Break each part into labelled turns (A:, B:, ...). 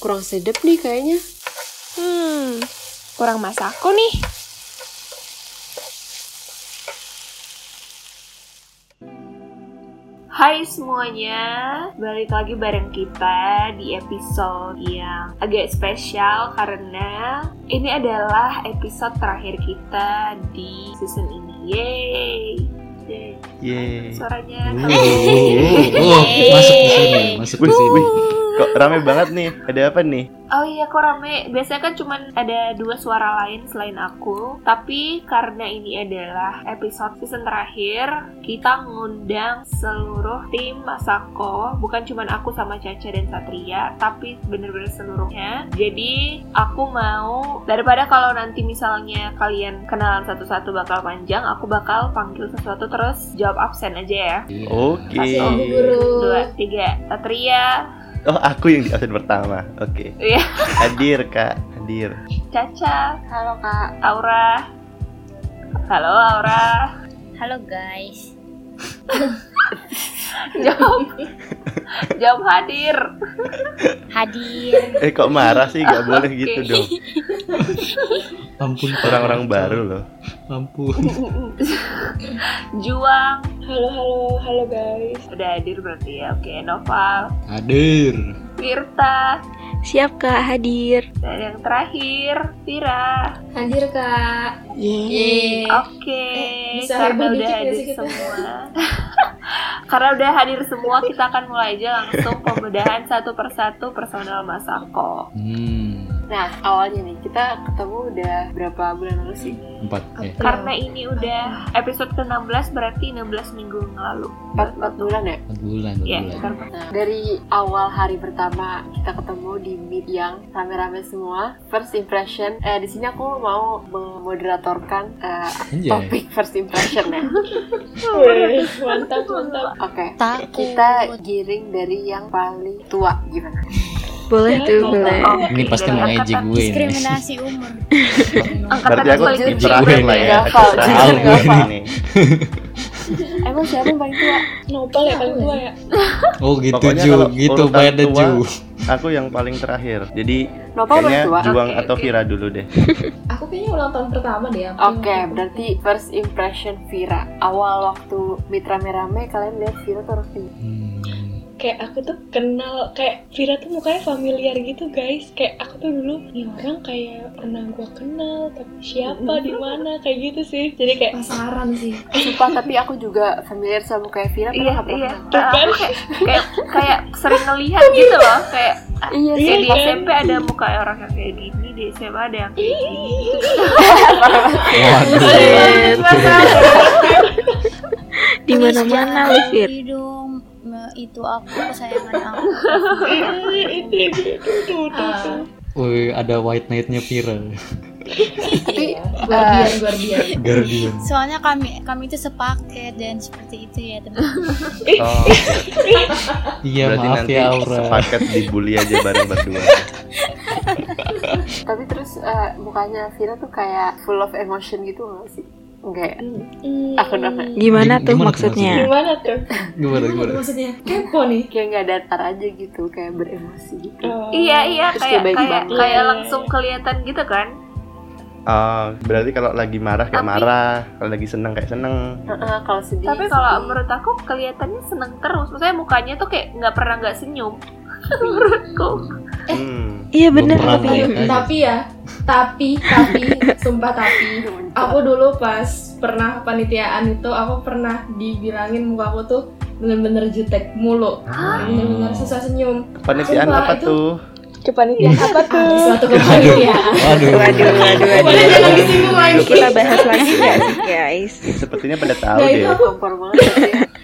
A: Kurang sedep nih kayaknya.
B: Hmm, kurang masakku nih. Hai semuanya, balik lagi bareng kita di episode yang agak spesial karena ini adalah episode terakhir kita di season ini. Yeay! Yeay.
C: Yeay.
B: Suaranya
C: Wuh,
B: kamu.
C: wuh, wuh. Oh, Masuk ke sini, masuk ke
D: Wih,
C: sini.
D: wih, kok rame banget nih? Ada apa nih?
B: Oh iya kok rame Biasanya kan cuman ada dua suara lain selain aku Tapi karena ini adalah episode season terakhir Kita ngundang seluruh tim Masako Bukan cuman aku sama Caca dan Satria Tapi bener-bener seluruhnya Jadi aku mau Daripada kalau nanti misalnya kalian kenalan satu-satu bakal panjang Aku bakal panggil sesuatu terus jawab absen aja ya
D: Oke.
B: Kasih
A: Oh, guru.
B: Dua, tiga Satria
D: Oh, aku yang di absen pertama. Oke.
B: Iya.
D: Hadir, Kak. Hadir.
B: Caca
A: Halo kak.
B: Aura. Halo Aura.
E: Halo guys.
B: Jawab. Jawab hadir.
E: Hadir.
D: Eh, kok marah sih? Gak boleh
B: Oke.
D: gitu dong.
C: Ampun, Kak.
D: Orang-orang baru loh.
C: Ampun.
B: Juang.
A: Halo halo halo guys.
B: Udah hadir berarti ya. Oke, Noval.
C: Hadir.
B: Tirta.
E: Siap Kak, hadir.
B: Dan yang terakhir, Vira.
A: Hadir kak.
E: Yeay.
B: Oke,
A: Eh, bisa heboh
B: karena udah
A: dikit gak
B: hadir
A: sih kita?
B: semua. karena udah hadir semua, kita akan mulai aja langsung pembedahan satu persatu personal Masako.
C: Hmm,
A: Nah awalnya nih kita ketemu udah berapa bulan lalu sih?
C: empat. Eh,
A: Iya.
B: Karena ini udah episode ke-16 berarti 16 minggu yang lalu.
A: Empat empat bulan ya.
C: empat bulan, empat
B: Ya,
C: bulan.
B: bentar,
A: Nah, dari awal hari pertama kita ketemu di meet yang rame-rame semua first impression eh di sini aku mau memoderatorkan eh,
C: Anjay.
A: topik first impression ya
B: mantap, mantap.
A: oke
E: Takut.
A: kita giring dari yang paling tua gimana
F: Boleh tuh, boleh.
B: Oh,
C: Ini pasti
B: dari angkatan-
C: mau ngejek gue nih.
E: Diskriminasi umur.
B: Angkatan
D: Berarti aku
B: paling Iya,
A: Jujur,
D: di
B: kecil.
D: terakhir lah
C: Iya.
D: ya. Aku
A: Jujur,
D: salah
C: jujur,
D: gue
C: jujur.
D: nih.
A: emang siapa yang paling tua
F: Nopal ya paling tua ya.
C: Oh gitu
D: Pokoknya
C: Ju,
D: kalau
C: gitu
D: urutan
C: pada
D: tua,
C: Ju.
D: Aku yang paling terakhir. Jadi
A: Nopal
D: kayaknya
A: paling tua oke
D: Juang
B: Oke,
D: atau
B: oke.
D: Vira dulu deh.
F: Aku kayaknya ulang tahun pertama deh. aku.
A: berarti first impression Vira awal waktu meet rame-rame kalian lihat Vira terus tinggi
C: Hmm.
F: Kayak aku tuh kenal kayak Vira tuh mukanya familiar gitu guys. Kayak aku tuh dulu nih orang kayak pernah gua kenal tapi siapa di mana kayak gitu sih. Jadi kayak pasaran sih.
A: sumpah tapi aku juga familiar sama kayak Vira
B: Iya,
A: pernah
B: iya.
A: pernah.
B: Nah, aku kayak, kayak, kayak sering ngelihat gitu loh. Kayak
A: iya
B: kayak
A: sih
B: di SMP ada muka orang yang kayak gini, di SMA ada yang kayak gini.
C: Waduh.
F: Di mana-mana lu, Fir.
E: dong. Me- Itu aku kesayangan aku.
F: Itu itu itu itu itu.
C: Wih, ada white night-nya Vira.
A: tapi eh,
F: Guardian guardian.
C: Guardian.
E: Soalnya kami kami itu sepaket dan seperti itu ya teman.
D: Oh,
C: Iya,
D: berarti
C: maaf
D: nanti
C: ya Aura.
D: sepaket dibully aja bareng berdua.
A: tapi terus eh, mukanya Vira tuh kayak full of emotion gitu nggak sih enggak ya
B: Hmm.
A: Aku dapat.
C: Gimana tuh maksudnya?
F: "Hmm, Gimana tuh?
C: Gimana gimana?
F: Maksudnya kepo nih.
A: kayak nggak datar aja gitu kayak beremosi gitu
F: Oh,
B: Iya, iya.
A: Terus
B: Kayak,
A: dia baik
B: kayak,
A: banget.
B: kayak langsung kelihatan gitu kan.
D: Ah, berarti kalau lagi marah kayak
B: Tapi-
D: marah, kalau lagi seneng kayak seneng.
A: Heeh, kalau sedih
B: Tapi kalau
A: sedih.
B: menurut aku kelihatannya seneng terus. Maksudnya mukanya tuh kayak nggak pernah nggak senyum. menurutku.
D: Hmm.
G: Iya bener
C: Belum pernah
G: tapi
C: ngeliat aja.
H: tapi ya tapi tapi sumpah tapi aku dulu pas pernah panitiaan itu aku pernah dibilangin muka aku tuh bener-bener jutek mulu
C: Ah.
H: bener-bener susah senyum
D: Penelitian
H: Sumpah,
D: apa
H: itu-
D: tuh?
F: Kepanitiaan apa
H: ah, di suatu ya. kepanitiaan
C: Waduh.
H: boleh jangan disinggung lagi
F: Kita bahas.
G: bahas lagi ya guys.
D: Sepertinya pada tahu
H: Nah,
D: deh.
H: itu aku-
A: kompor banget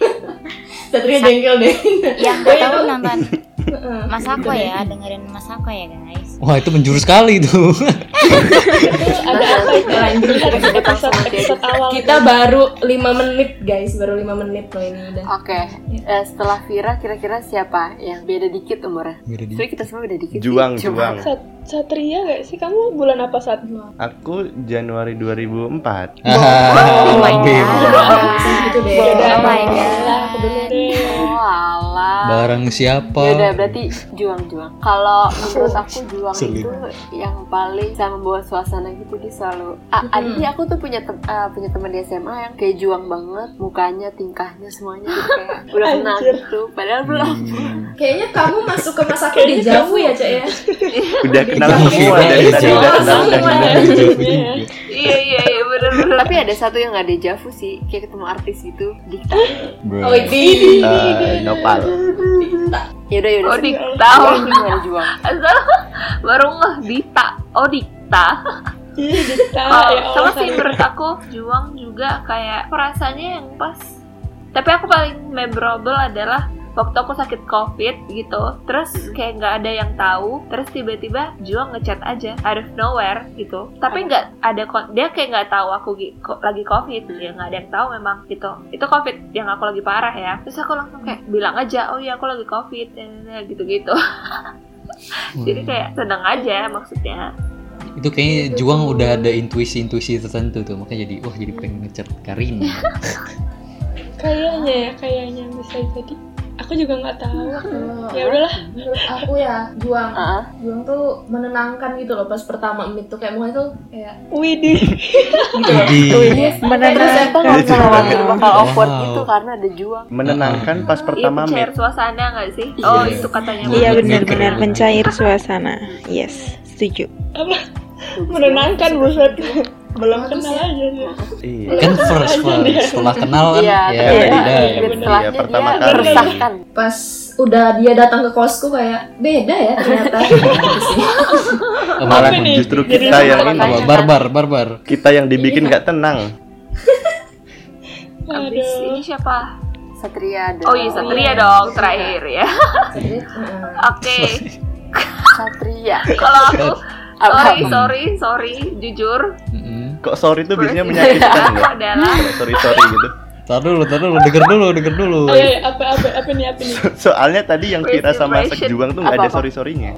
A: tapi
H: satria jengkel deh
E: Yang Ya, nggak tahu nonton
H: Heeh.
E: Masako ya, dengerin Masako ya guys.
C: Wah, itu menjurus sekali tuh.
F: Ada apa itu?
H: Lanjut.
F: Ini harus episode episode awal.
H: kita baru 5 menit guys baru 5 menit loh ini udah
A: Oke, eh, setelah Vira kira-kira siapa yang beda dikit umurnya?
C: Beda dikit.
A: Sebenernya kita semua beda dikit sih,
D: Juang,
A: cuma-
D: Juang.
F: Sat- Satria gak sih? Kamu bulan apa saat
H: Oh
D: Aku Januari 2004.
C: Ah,
E: my
C: beda.
E: God.
H: gitu deh
E: Oh my
H: Udah,
E: god.
H: udah deh.
A: Oh, alah.
C: barang siapa?
A: Ya udah berarti juang-juang. Kalau menurut aku juang
C: Sulit.
A: itu yang paling bisa membawa suasana gitu dia selalu. Ah,
H: Mhm.
A: Jadi aku tuh punya tem- ah, punya teman di SMA yang kayak juang banget, mukanya, tingkahnya semuanya gitu kayak udah kenal
F: Anjir.
A: gitu. Padahal belum.
C: Hmm.
H: Kayaknya kamu masuk ke masa aku di Javu ya, Cak ya?
D: Udah kenal
C: Iya,
D: semua
C: iya,
D: dari
C: iya,
D: tadi
C: iya.
D: udah kenal
C: Iya,
D: dari
C: iya,
D: tadi.
C: iya, iya.
B: Iya iya iya bener bener.
A: Tapi ada satu yang nggak deja vu sih, kayak ketemu artis gitu. Dikta.
C: Bro.
H: Oh, di.
D: Eh, Nopal.
A: Yaudah yaudah.
B: Oh
A: sini.
B: Dikta.
A: Juang itu gimana juang?
B: Asal baru ngeh Dita. Oh Dikta.
F: Iya, Dita.
B: Oh,
F: ya
B: sama
F: Allah.
B: sih menurut aku juang juga kayak perasaannya yang pas tapi aku paling memorable adalah waktu aku sakit covid gitu terus
F: Hmm.
B: kayak nggak ada yang tahu terus tiba-tiba juang ngechat aja out of nowhere gitu tapi nggak ada kon- dia kayak nggak tahu aku gi- ko- lagi covid
F: Hmm.
B: dia nggak ada yang tahu memang gitu itu covid yang aku lagi parah ya terus aku langsung kayak bilang aja oh iya aku lagi covid gitu gitu
F: Hmm.
B: jadi kayak seneng aja maksudnya
C: Itu kayaknya Juang udah ada intuisi-intuisi tertentu tuh, makanya jadi wah jadi pengen ngecat Iya. Karina.
F: Kayaknya ya, kayaknya bisa jadi. Aku juga nggak tahu. Ya udahlah.
H: Menurut aku ya, juang.
A: Ah,
H: Juang tuh menenangkan gitu loh pas pertama meet tuh kayak mukanya tuh kayak
F: Widih.
C: Jadi
A: iya? Terus
E: Menenangkan.
A: kita nggak bisa khawatir bakal
C: Wow.
A: awkward gitu karena ada juang.
D: Menenangkan pas
B: Iya,
D: pertama
B: share
D: meet.
B: suasana nggak sih? Oh,
C: Iya.
B: itu katanya.
C: Iya,
B: Bang.
G: Iya benar-benar mencair suasana. Yes, setuju.
F: Menenangkan buset. Belum
H: Bagus
F: kenal
H: ya.
F: aja. ya.
D: Iya.
C: kan first first setelah kenal kan
A: Iya,
C: ya
A: iya,
C: beda
A: iya,
C: ya.
A: dan setelahnya
D: Iya, pertama
A: dia
D: kali.
A: meresahkan.
H: pas udah dia datang ke kosku kayak beda ya ternyata. Gitu sih.
D: Malah
F: Apa nih?
D: justru
F: Jadi
D: kita yang
A: sama
D: ini
A: kayak-
C: barbar barbar.
D: kita yang dibikin nggak tenang.
B: Abis
F: Aduh.
B: ini siapa?
A: Satria ada.
B: Oh iya, Satria dong terakhir ya.
H: Jadi, mm,
B: Oke,
A: Satria.
B: kalau aku
A: Apa?
B: sorry sorry sorry jujur
C: Mm-mm.
D: Kok sorry tuh biasanya
B: Berarti-
D: menyakitkan
B: aku
D: ya?
B: adalah
D: Sorry sorry gitu.
C: Tar dulu, tar dulu, denger dulu, denger dulu.
F: Oh iya, iya, apa apa apa nih apa nih?
D: Soalnya tadi yang Vira sama
B: Reservation.
D: Sekjuang tuh nggak ada
A: Apa-apa?
D: sorry sorrynya.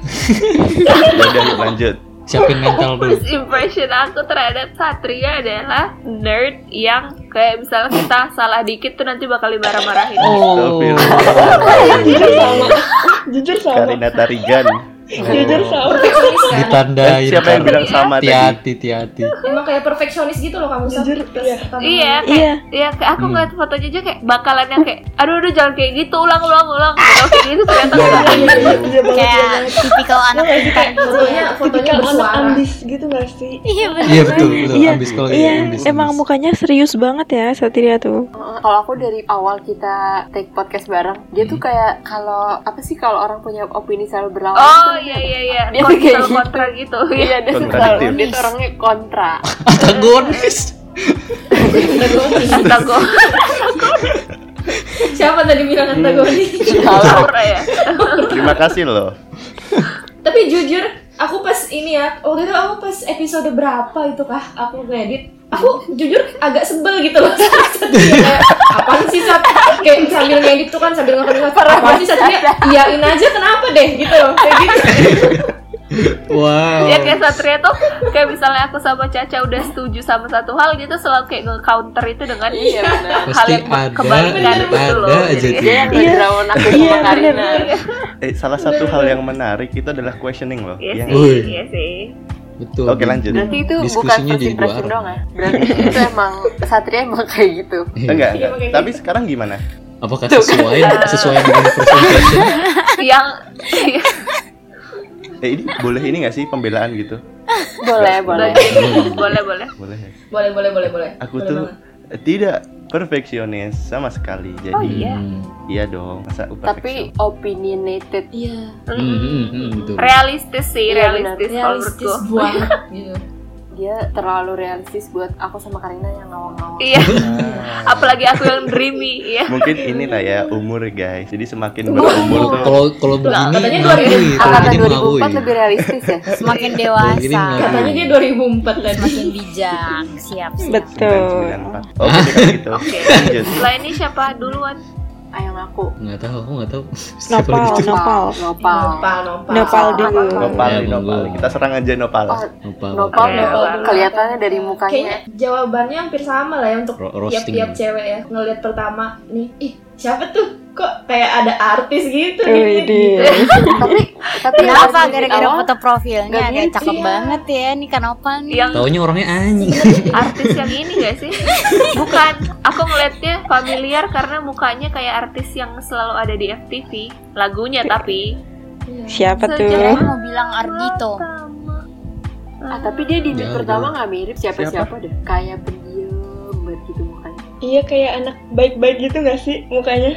D: ya udah yuk lanjut.
C: Siapin mental dulu.
B: first impression aku terhadap Satria adalah nerd yang kayak misalnya kita salah dikit tuh nanti bakal dimarah-marahin.
C: Oh.
F: Jujur sama. Jujur sama.
D: Karina Tarigan.
F: Jujur sama.
D: Eh,
C: Ditandain. kan.
D: siapa yang bilang sama tadi?
C: hati-hati, hati-hati.
H: kan? emang kayak perfeksionis gitu loh kamu Sat.
F: Jujur,
H: Pas
F: iya.
H: pertama
B: Iya, kayak,
H: meet.
G: Iya.
B: iya, kayak aku
C: Hmm.
B: ngeliat fotonya aja kayak bakalan yang kayak, aduh, aduh, jangan kayak gitu, ulang, ulang, ulang, kalau kayak gitu ternyata
D: Iya,
C: Iya,
B: enggak.
F: Iya banget. iya
E: Kayak
F: banget.
E: tipikal anak pintar gitu
H: Fotonya
E: ya.
H: fotonya
F: Tipikal anak
H: bersuara.
F: ambis gitu gak sih?
E: Iya bener.
C: Iya betul, betul.
G: Iya,
C: Ambis kalau
G: Iya,
C: ambis,
G: emang
C: ambis.
G: mukanya serius banget ya Satria tuh.
A: Uh, Kalau aku dari awal kita take podcast bareng, dia tuh kayak kalau apa sih kalau orang punya opini selalu berlawanan.
B: Oh
A: tuh
B: iya
A: dia-
B: iya iya.
A: Dia
B: Dia
A: tuh kayak
B: kontra
A: gitu.
B: kontra gitu.
A: Iya, dia tuh selalu
D: Kontradiktif.
A: dia tuh orangnya kontra.
C: Antagonis.
B: Antago
H: Siapa tadi bilang antagonis?
A: gitu.
B: kontra ya.
D: Terima kasih loh.
H: Tapi jujur, aku pas ini ya, waktu itu aku pas episode berapa itu kah aku ngedit, aku jujur agak sebel gitu loh. Kayak, apaan sih Sat? Kayak sambil ngedit tuh kan sambil ngomongin Sat, apaan sih Sat? Kayak, iyain aja kenapa deh gitu loh, kayak gitu.
A: Oh.
C: Wow.
B: Dia Iya, kayak Satria tuh kayak misalnya aku sama Caca udah setuju sama satu hal gitu selalu kayak nge-counter itu dengan
A: Iya benar.
B: hal
C: Pasti
B: yang
C: ada,
B: kebalikan gitu loh.
C: ada aja
B: Jadi-
A: Dia yang lagi lawan aku
G: Iya,
A: sama
G: bener.
A: Karina.
D: Eh salah satu hal yang menarik itu adalah questioning loh.
B: Iya
D: Iya nggak?
B: sih,
C: Wih.
B: iya sih.
C: Betul.
D: Oke lanjut.
A: Berarti itu bukan
C: Diskusinya
A: first
C: jadi dua
A: impression
C: arah.
A: doang ya? Berarti itu emang Satria emang kayak gitu.
D: Iya Enggak, enggak. Tapi sekarang gimana?
C: Eh, Apakah sesuai sesuai dengan first impression?
B: Yang iya.
D: Eh ini boleh ini nggak sih pembelaan gitu?
A: Boleh boleh.
B: boleh boleh.
D: Boleh. ya?
H: Boleh, boleh, boleh, boleh.
D: Aku
H: Boleh
D: tuh
H: banget.
D: tidak perfeksionis sama sekali. Jadi
B: Oh, iya.
C: Hmm.
D: iya dong. Masa aku
A: Tapi
D: perfeksionis?
A: opinionated.
H: Iya,
C: Hmm, hmm, hmm, betul.
B: Realistis
A: Iya,
B: sih, realistis kalau
H: realistis
B: menurutku.
H: banget gitu.
A: Dia terlalu realistis buat aku sama Karina yang ngawang-ngawang.
B: Iya,
D: Ah.
B: apalagi aku yang dreamy ya.
D: Mungkin inilah ya umur guys. Jadi semakin berumur tuh
C: Kalau kalau begini
H: katanya
C: mengakui, kalau
A: Angkatan
C: begini mengakui.
A: 2004 lebih realistis ya?
E: Semakin
C: Kalau begini
E: dewasa,
C: mengakui.
H: Katanya dia 2004 tadi.
E: semakin bijak. Siap, siap.
G: Betul.
D: 994. Oke deh, kalau gitu.
B: Oke.
D: Lanjut.
B: Setelah ini siapa duluan?
A: Ayo ngaku.
C: Nggak tahu, aku nggak tahu. Siapa
G: Nopal,
C: lagi tuh?
G: nopal,
A: Iya. Nopal.
H: Nopal, nopal.
G: nopal dulu.
D: Nopal,
C: Ya,
D: nih, nopal.
C: monggo.
D: Kita serang aja nopal.
A: Oh,
C: Nopal.
A: Nopal,
B: Oke.
A: nopal.
B: Nopal.
A: Kelihatannya dari mukanya.
H: Kayaknya jawabannya hampir sama lah ya untuk
C: Ro- roasting.
H: tiap-tiap cewek ya ngelihat pertama nih ih siapa tuh kok kayak ada artis gitu
G: Widih.
A: tapi tapi
E: Kenapa
B: Iya,
A: pas di
E: gara-gara
A: awal,
E: foto profilnya
A: Gak
E: ada
A: gitu
E: cakep
A: ya.
E: banget ya nih Kanopal nih.
B: yang
C: Taunya orangnya anjing.
B: artis yang ini gak sih? Bukan, aku ngeliatnya familiar karena mukanya kayak artis yang selalu ada di FTV Lagunya tapi
G: Siapa
B: Iya.
E: Kirain
G: tuh?
E: mau bilang Ardito.
A: ah, tapi dia di mid
C: Jauh,
A: pertama nggak mirip siapa siapa
D: Siapa?
A: deh kayak pendiam banget gitu mukanya
F: Iya kayak anak baik-baik gitu gak sih mukanya?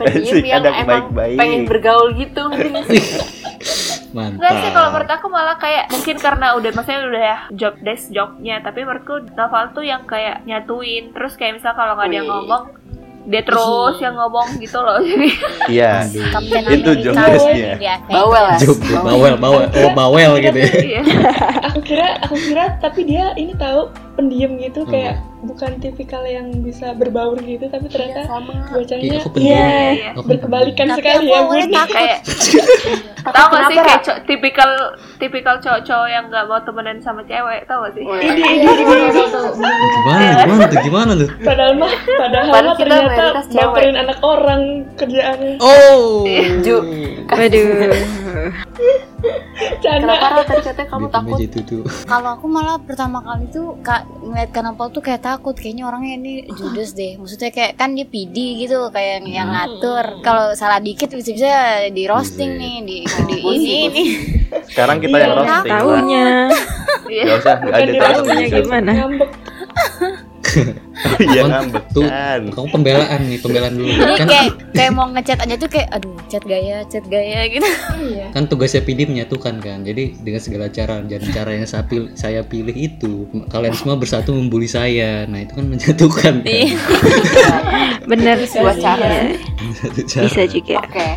A: pendiam
D: Asik,
A: yang
D: ada
A: emang
D: baik-baik.
A: pengen bergaul gitu ngerti nggak sih?
B: Enggak sih kalau
C: Mantap.
B: menurut aku malah kayak mungkin karena udah maksudnya udah job desk jobnya tapi menurutku Noval tuh yang kayak nyatuin terus kayak misal kalau nggak ada yang
A: Wih.
B: ngomong dia terus yang ngomong gitu loh jadi
D: Iya.
C: Aduh.
E: Kapten
D: Itu
E: Amerika.
D: job desk-nya.
E: Iya, kayak
A: bawel lah
C: Job, bawel, bawel, oh bawel gitu ya.
B: iya.
F: Aku kira, aku kira tapi dia ini tahu pendiam
C: Hmm.
F: gitu kayak bukan tipikal yang bisa berbaur gitu tapi ternyata
A: sama
C: Iya,
F: bocahnya
C: aku pendiam.
B: Iya.
C: Aku
F: berkebalikan
E: Tapi
F: sekali
E: aku
F: ya
E: awalnya
F: bun.
E: takut.
B: kayak tau gak sih kayak co- tipikal tipikal cowok-cowok yang nggak mau temenan sama cewek tau gak sih
A: Wih,
C: Gimana, gimana tuh, gimana lu?
F: Padahal mah, padahal
A: Padahal
F: mah
A: kita
F: ternyata
A: mayoritas cewek.
F: baperin anak orang kerjaannya.
C: Oh.
A: Ju
G: Waduh.
F: Canda.
A: kenapa Ra, tadi katanya kamu
C: Di
A: takut
C: meja itu tuh.
E: Kalau aku malah pertama kali tuh kak ngeliat kanapol tuh kayak takut kayaknya orangnya ini judes deh. Maksudnya kayak kan dia PD gitu kayak yang
B: Hmm.
E: ngatur. Kalau salah dikit bisa-bisa di roasting nih di, di
B: Iya.
E: ini ini.
D: Sekarang kita yang
F: Iya,
D: roasting. lah.
G: Taunya.
D: Gak usah, nggak ada
F: Bukan
D: terus.
C: gitu.
G: Taunya gimana?
F: Ngambek.
D: Iya
C: Kon-
D: ngambek
C: Tuh,
D: kan.
C: kamu pembelaan nih, pembelaan dulu.
E: Jadi
C: Kan
E: kayak kayak mau ngechat aja tuh kayak aduh chat gaya chat gaya gitu.
H: iya
C: kan tugasnya PD menyatukan kan. Jadi dengan segala cara dan cara yang saya pilih, saya pilih itu kalian semua bersatu membuli saya. Nah, itu kan menyatukan kan.
E: Iya.
G: Bener
A: dua
B: Iya.
A: cara
C: Satu cara.
G: Bisa juga.
A: Oke,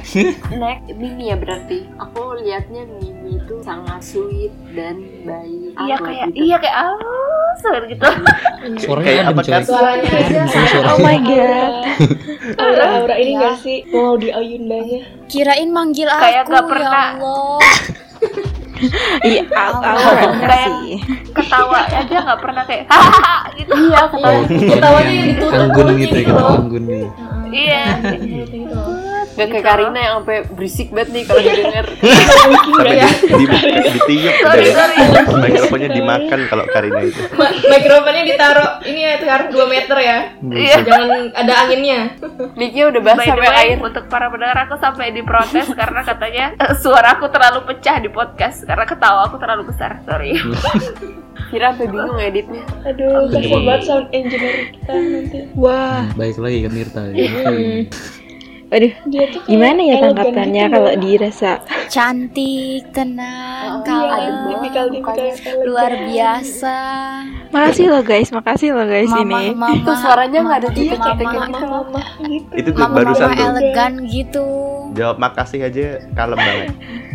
A: next Mimi ya berarti. Aku lihatnya Mimi itu sangat sweet dan baik.
B: iya
A: Aku
B: kayak
A: gitu.
B: iya kayak alus banget gitu
C: Suaranya
D: Kayak
C: adem,
D: apa
C: coy. Oh,
D: kan?
H: suaranya aja
C: Bukan Iya, suara.
G: Oh my god.
F: Aura-aura ini
E: Iya.
F: gak sih? Wow, di ayundanya.
E: Kirain manggil aku
B: Kayak nggak pernah.
E: ya Allah.
G: Iya, au- aura bener
B: Kayak-
G: sih.
B: ketawa aja nggak pernah kayak hahaha gitu iya
C: Oh,
H: Ketawanya yang ditutup
C: anggun gitu
H: mulutnya
C: ya,
H: gitu
C: kayak
H: loh.
C: anggun gitu.
B: iya
H: gitu
A: Gak kayak Karina yang sampai berisik banget nih kalau didengar.
D: Tapi di, di, ditiup gitu
B: sorry
D: deh.
B: sorry
D: Mikrofonnya dimakan kalau Karina itu.
H: Ma- mikrofonnya ditaruh ini ya sekarang 2 meter ya
B: iya
H: jangan ada anginnya
A: Diknya udah
B: By
A: basah
B: the
A: sampai
B: way,
A: air.
B: untuk para pendengar aku sampai diprotes karena katanya eh, suara aku terlalu pecah di podcast karena ketawa aku terlalu besar. Sorry.
A: Kira sampai bingung editnya.
F: Aduh,
C: Aduh.
F: kasih banget sound engineer kita nanti.
G: Wah,
C: Baik lagi kan Mirta. ya.
G: waduh.
F: Dia tuh kayak
G: Gimana ya
F: elegan
G: tangkapannya
F: gitu
G: kalau
F: loh.
G: dirasa?
E: Cantik,
A: Oh,
E: tenang,
F: Iya,
E: kalem,
F: tipikal-tipikal yang
A: iya.
F: elegan.
E: luar biasa.
G: Makasih loh guys, makasih loh guys ini.
E: Mama, mama,
A: Itu suaranya nggak ada
E: mama,
A: titik-titiknya
E: mama,
A: gitu.
F: Mama gitu.
D: Itu tuh
E: mama,
D: barusan
E: mama
D: tuh.
E: elegan gitu.
D: Jawab makasih aja kalem banget.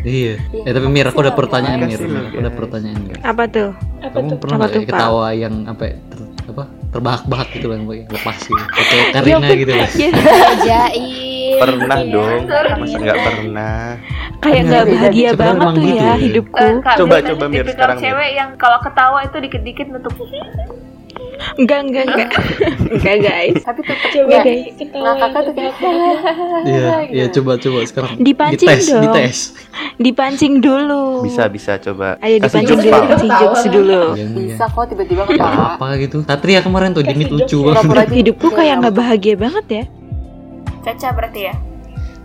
C: Iya. Eh tapi Mir, aku ada pertanyaan Mir.
D: Makasih,
C: Aku ada
D: guys.
C: pertanyaan Mir.
G: Apa tuh?
F: Apa
C: Kamu
F: tuh?
C: pernah
G: Apa
C: nggak ya
G: tuh, Pak?
C: ketawa yang sampai ter- apa terbahak-bahak gitu loh, yang lepas gitu. Kayak Karina gitu loh.
E: Ajaib.
D: Pernah dong.
E: iya. Sorry.
D: Masa nggak pernah?
G: Kayak nggak
C: Iya,
G: bahagia
C: sebenarnya
G: banget
C: emang
G: tuh
C: gitu
G: ya
C: ya.
G: hidupku.
B: Eh, Kak,
D: Coba,
B: biasanya
D: coba, Mir,
B: tipikal
D: sekarang, Mir.
B: cewek yang kalau ketawa itu dikit-dikit nutup.
G: Enggak, enggak, enggak. Enggak, guys.
A: Tapi tetap
F: Coba
A: ya.
G: guys.
F: ketawa
A: Nah,
F: yang
A: kakak tuh kayak
C: Iya, iya coba coba sekarang.
G: Dipancing
C: dites,
G: dong.
C: dites.
G: Dipancing dulu.
D: Bisa bisa coba.
G: Ayo
D: Kasih
G: dipancing
D: jokes
G: dulu,
D: Pak.
G: kasih jokes dulu.
C: Jangan ya.
A: bisa kok tiba-tiba
C: Gak
A: ketawa.
C: apa-apa gitu. Satria kemarin tuh dimit
F: Kasih
C: lucu
F: jokes.
C: banget.
A: Pura-pura gitu.
G: Hidupku kayak nggak bahagia banget ya.
B: Caca berarti ya?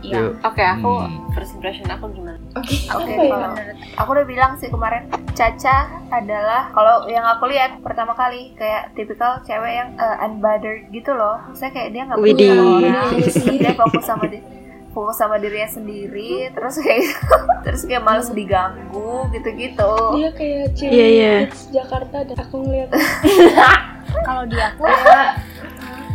E: Iya.
D: Yuk.
A: Oke, aku
C: Hmm.
A: first impression aku gimana?
B: Oke,
F: Apa ya?
B: kalau- aku udah bilang sih kemarin Caca adalah kalau yang aku lihat pertama kali kayak tipikal cewek yang eh, unbothered gitu loh. Saya kayak dia nggak peduli sama
G: Widih.
B: orang, dia fokus sama di fokus sama dirinya sendiri, terus kayak terus kayak males diganggu gitu-gitu.
F: Dia kayak cewek
G: Iya, iya.
F: hits Jakarta dan aku ngeliat
E: Kalau di aku,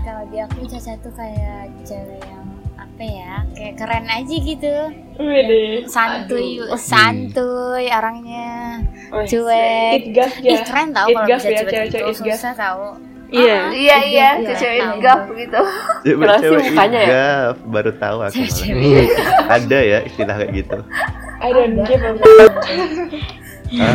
E: kalau di aku Caca tuh kayak cewek yang apa ya, kayak keren aja gitu.
F: Wede
E: Santuy, santuy orangnya,
A: Iya.
F: It
E: cuek.
F: gas
E: Ih
F: ya
E: keren tau
F: It
E: kalau
F: gas
E: bisa
F: ya,
E: cuek
F: cewek-cewek
E: gitu,
F: it gas.
E: susah tau.
G: Iya.
B: Iya iya,
E: Iya,
B: cewek
E: tahu.
B: gaf gitu.
D: Cewek
A: Padahal sih
D: cewek
A: mukanya ya.
D: igaf. Baru tahu aku malah.
C: Iya.
D: Ada ya istilah kayak gitu.
F: I don't give a
D: Ah,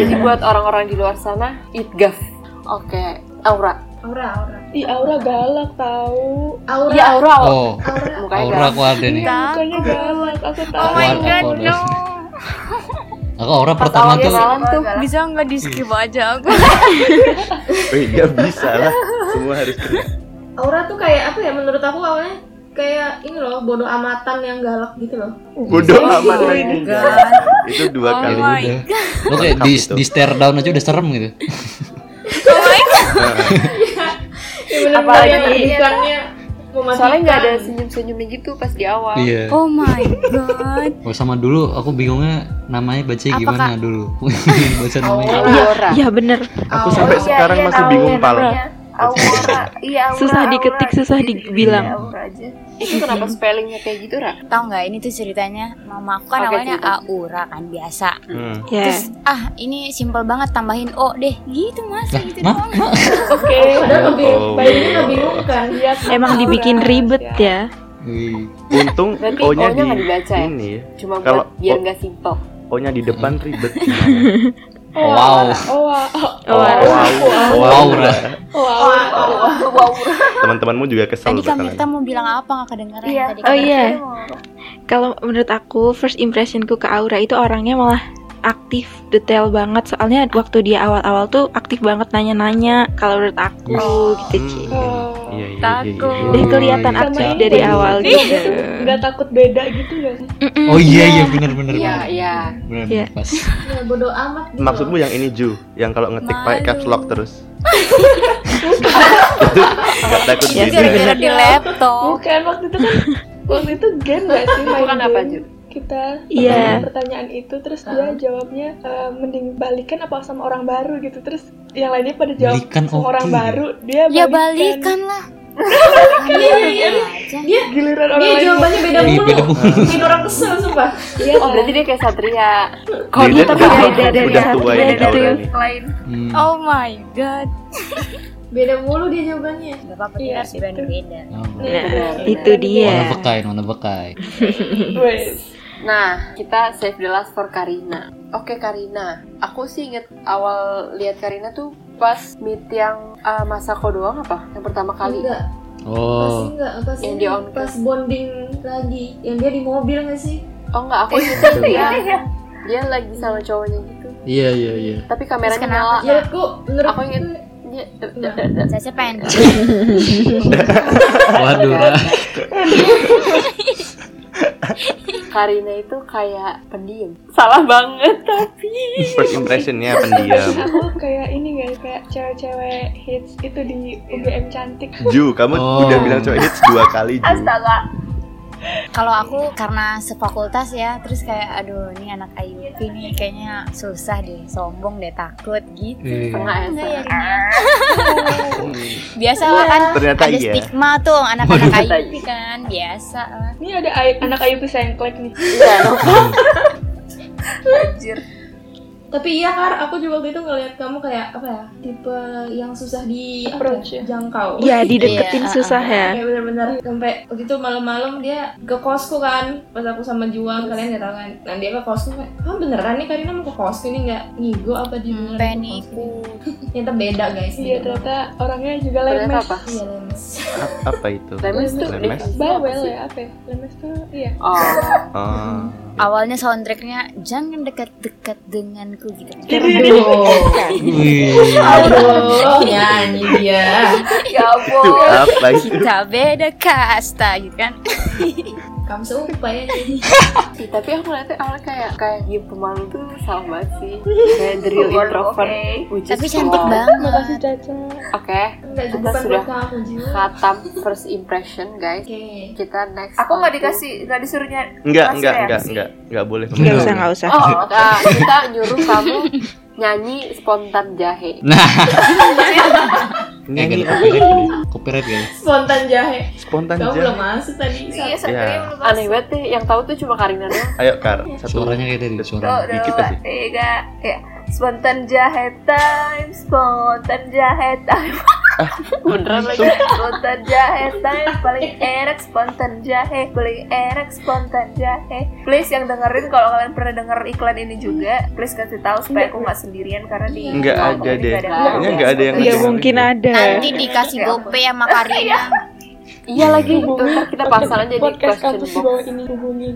A: Jadi buat orang-orang di luar sana, it gaff. Oke, Aura.
H: Aura, aura.
F: Ih, Aura galak tahu.
H: Aura.
A: Iya, aura.
C: Oh,
A: Mukanya
C: aura
A: galak.
C: aku ada nih.
F: Iya, mukanya galak. Aku
E: Oh
F: tahu.
C: my Aku God, ada. no. Aku aura
A: Pas
C: pertama
A: awalnya
C: tuh
A: kenalan tuh.
E: Bisa nggak di skip aja aku?
D: Wih, dia bisa lah. Semua harus teriak.
H: Aura tuh kayak apa ya menurut aku awalnya kayak ini loh bodoh amatan yang galak gitu loh.
D: Bodoh amat lagi. Itu dua
E: Oh
D: kali.
E: my
C: gitu udah. Lo kayak di,
D: Lengkap itu.
C: di stare down aja udah serem gitu.
H: Ya benar-benar
A: Apalagi-
H: yang pendidikannya mematikan.
A: Soalnya nggak ada senyum-senyumnya gitu pas di awal.
C: Iya.
E: Oh my god.
C: Oh, sama dulu aku bingungnya namanya baca
E: Apa,
C: gimana
E: Kak?
C: dulu. baca namanya.
A: Aura.
F: Iya.
A: Aura.
G: Ya bener,
D: Aku Oh, sampai
A: iya,
D: sekarang masih bingung pal.
A: ya Aura. Iya, aura.
G: susah diketik,
A: aura.
G: susah
A: Iya,
G: dibilang.
A: aura aja. Itu kenapa spellingnya kayak gitu, Ra?
E: Tahu nggak ini tuh ceritanya mama aku kan
A: Oke,
E: awalnya
A: cerita.
E: Aura kan biasa.
D: Hmm.
G: Ya,
E: Terus ah ini simple banget tambahin O deh gitu mas
C: Lah,
E: gitu
C: ma?
E: doang.
F: Oke.
H: Padahal lebih
D: Oh.
H: bayinya membingungkan.
G: emang dibikin ribet ya.
C: Wih.
D: Untung
A: Berarti
D: O-nya
A: O-nya
D: di
A: nggak dibaca ya?
D: ini ya.
A: Cuma
D: Kalau-
A: buat biar nggak simple.
D: O-nya di depan ribet. Gimana?
C: Wow.
F: Oh,
G: Oh,
D: wow.
C: Wow, Ra.
F: wow.
D: Teman-temanmu juga kesel
E: Tadi Kak
D: bakalan.
E: Mirta mau bilang apa nggak kedengeran
A: Iya.
E: tadi?
G: Oh iya. Kalau menurut aku first impressionku ke Aura itu orangnya malah aktif, detail banget. Soalnya waktu dia awal-awal tuh aktif banget nanya-nanya. Kalau menurut aku gitu
A: Oh,
G: Ci.
D: Hmm, Iya, iya, iya, iya, iya.
G: Udah kelihatan aktif
F: Sama
G: dari
F: ini.
G: awal
F: Iya,
G: gitu.
F: gitu. Nggak takut beda gitu nggak sih?
G: Mm-mm.
C: Oh iya iya benar benar.
A: Iya, iya.
C: Benar
G: Iya.
C: pas.
H: Ya bodoh amat gitu.
D: Maksudmu yang ini Ju, yang kalau ngetik pakai caps lock terus. Gak takut
G: Iya,
D: beda.
G: bener.
E: Ya, Gara-gara di laptop.
F: Bukan waktu itu kan waktu itu gen nggak sih main
A: Bukan
F: game?
A: apa, Ju?
F: Kita
G: Iya.
F: pertanyaan- pertanyaan itu terus dia jawabnya eh, mending balikan apa sama orang baru gitu terus yang lainnya pada jawab
C: Balikan
F: sama
C: oke.
F: orang baru dia
E: Ya balikan lah.
H: Dia
F: giliran
H: Iya, dia
F: orang lain
H: jawabannya
C: Iya,
H: beda
C: beda
H: mulu.
C: mulu.
H: Bikin orang kesel sumpah.
F: Iya,
A: Oh, berarti dia kayak Satria.
D: Dia
G: dia
D: udah-
G: tapi beda
D: udah
G: dari
D: udah
G: satu
D: tua ini
G: beda
D: Aura
G: tuh.
D: nih.
A: Lain.
G: Nah,
C: Hmm.
E: Oh my god.
H: Beda mulu dia jawabannya.
E: Gak apa-apa
F: Iya,
E: dia harus beda.
C: Oh.
G: Nah,
A: Benar,
G: itu
C: Warna
G: dia.
C: bekai, warna bekai.
F: Wes.
A: Nah, kita save the last for Karina. Oke Karina, aku sih inget awal lihat Karina tuh pas meet yang uh, Masako doang apa? Yang pertama kali.
H: Enggak, pasti
C: Oh,
H: enggak pas
A: Yang
H: ini,
A: di on
H: pas bonding lagi. Yang dia di mobil nggak sih?
A: Oh enggak, aku inget dia. Dia lagi sama cowoknya gitu.
C: iya iya iya.
A: Tapi kameranya
E: Terus kenapa?
A: nyala.
H: Ya aku menurut
A: Ah, Aku inget dia
E: Saya pengen.
C: Waduh, Ra.
A: Karina itu kayak pendiam. Salah banget tapi.
D: First impressionnya pendiam.
F: aku kayak ini guys kayak cewek-cewek hits itu di UGM cantik
D: Ju, kamu
C: Oh.
D: udah bilang cowok hits dua kali Ju.
E: Kalau aku karena sefakultas ya, terus kayak aduh ini anak IUP nih kayaknya susah deh, sombong deh, takut gitu.
C: Iya.
A: Enggak ya.
E: Enggak ya,
A: Sa?
E: Rina? biasa lah kan
D: Ternyata
E: ada
D: iya.
E: stigma tuh anak-anak
A: Waduh.
E: IUP kan biasa lah
F: ini ada ayu, anak ayu sengklek nih
A: Iya, no.
H: Tapi iya Kar, aku juga waktu itu ngeliat kamu kayak apa ya? Tipe yang susah di apa
F: Approach
H: ya?
F: ya?
H: jangkau.
G: Ya dideketin
E: Iya,
G: susah ya.
H: Kayak benar-benar sampai waktu itu malam-malam dia ke kosku kan pas aku sama Juang kalian nggak tahu kan nah dia ke kosku kayak ah beneran nih Karina mau ke kosku ini nggak ngigo apa dia beneran
E: Sampai
H: ke kosku?"
E: nipu
H: ternyata beda guys
F: iya ternyata orangnya juga
A: Ternyata
F: lemes
A: apa?
H: iya lemes
D: A- Apa itu?
A: Lemes tuh
D: Lemes.
A: definisinya apa
F: bawel
A: sih?
F: ya apa ya lemes tuh iya
A: Oh,
D: Oh.
E: awalnya soundtracknya jangan dekat-dekat denganku gitu
D: Iya.
H: Iya,
C: Wih.
H: aduh nyanyi dia
D: Itu apa itu?
E: kita beda kasta gitu kan
H: kamu sumpah ya nyanyi
A: Ih, tapi aku ngeliatnya awalnya kayak kayak diem pemalu tuh salah banget sih kayak the real introvert which is
D: Iya.
E: tapi cantik
A: wow.
E: banget
F: makasih Caca
A: oke
H: enggak
A: Kita
H: juga bukan
A: sudah
H: buat kamu juga
A: khatam first impression guys
H: oke
A: kita next
I: Aku nggak
A: onto-
I: dikasih, nggak disuruh ya? nyari.
D: Enggak,
I: Mas
D: enggak,
A: ya?
I: Ren
D: enggak,
I: sih.
D: enggak, enggak boleh.
G: Gak usah, gak usah.
A: oh nah, kita nyuruh kamu nyanyi spontan jahe
C: Nah,
D: Nyanyi
C: eh,
D: apa?
C: copyright kali. Copyright ya? guys.
H: spontan jahe
D: Spontan
H: kamu belum
D: aja.
H: masuk tadi
I: Iya,
D: Iya.
I: satria belum
A: aneh banget deh yang tahu tuh cuma Karina doang
D: Ayo Kar, satu.
C: Suaranya kayak tadi suara.
I: Tuh,
D: Dikit
I: dua,
D: aja.
I: tiga, ya. Spontan jahe time, spontan jahe time.
D: Ah,
A: beneran lagi
I: Spontan jahe, saya paling enak spontan jahe, paling enak spontan jahe. Please yang dengerin kalau kalian pernah denger iklan ini juga, please kasih tahu supaya aku nggak sendirian karena di
D: Nggak
B: Oh,
I: kampung
D: ada
I: ini
D: deh.
I: nggak ada Iya.
D: Kayaknya nggak ada yang
G: Ya
D: dengerin.
G: mungkin ada.
D: Iya.
E: Nanti dikasih gope sama Karina.
A: iya lagi itu ntar kita pasang aja di
F: podcast
A: question
F: kampus di
A: box
F: bawah ini hubungin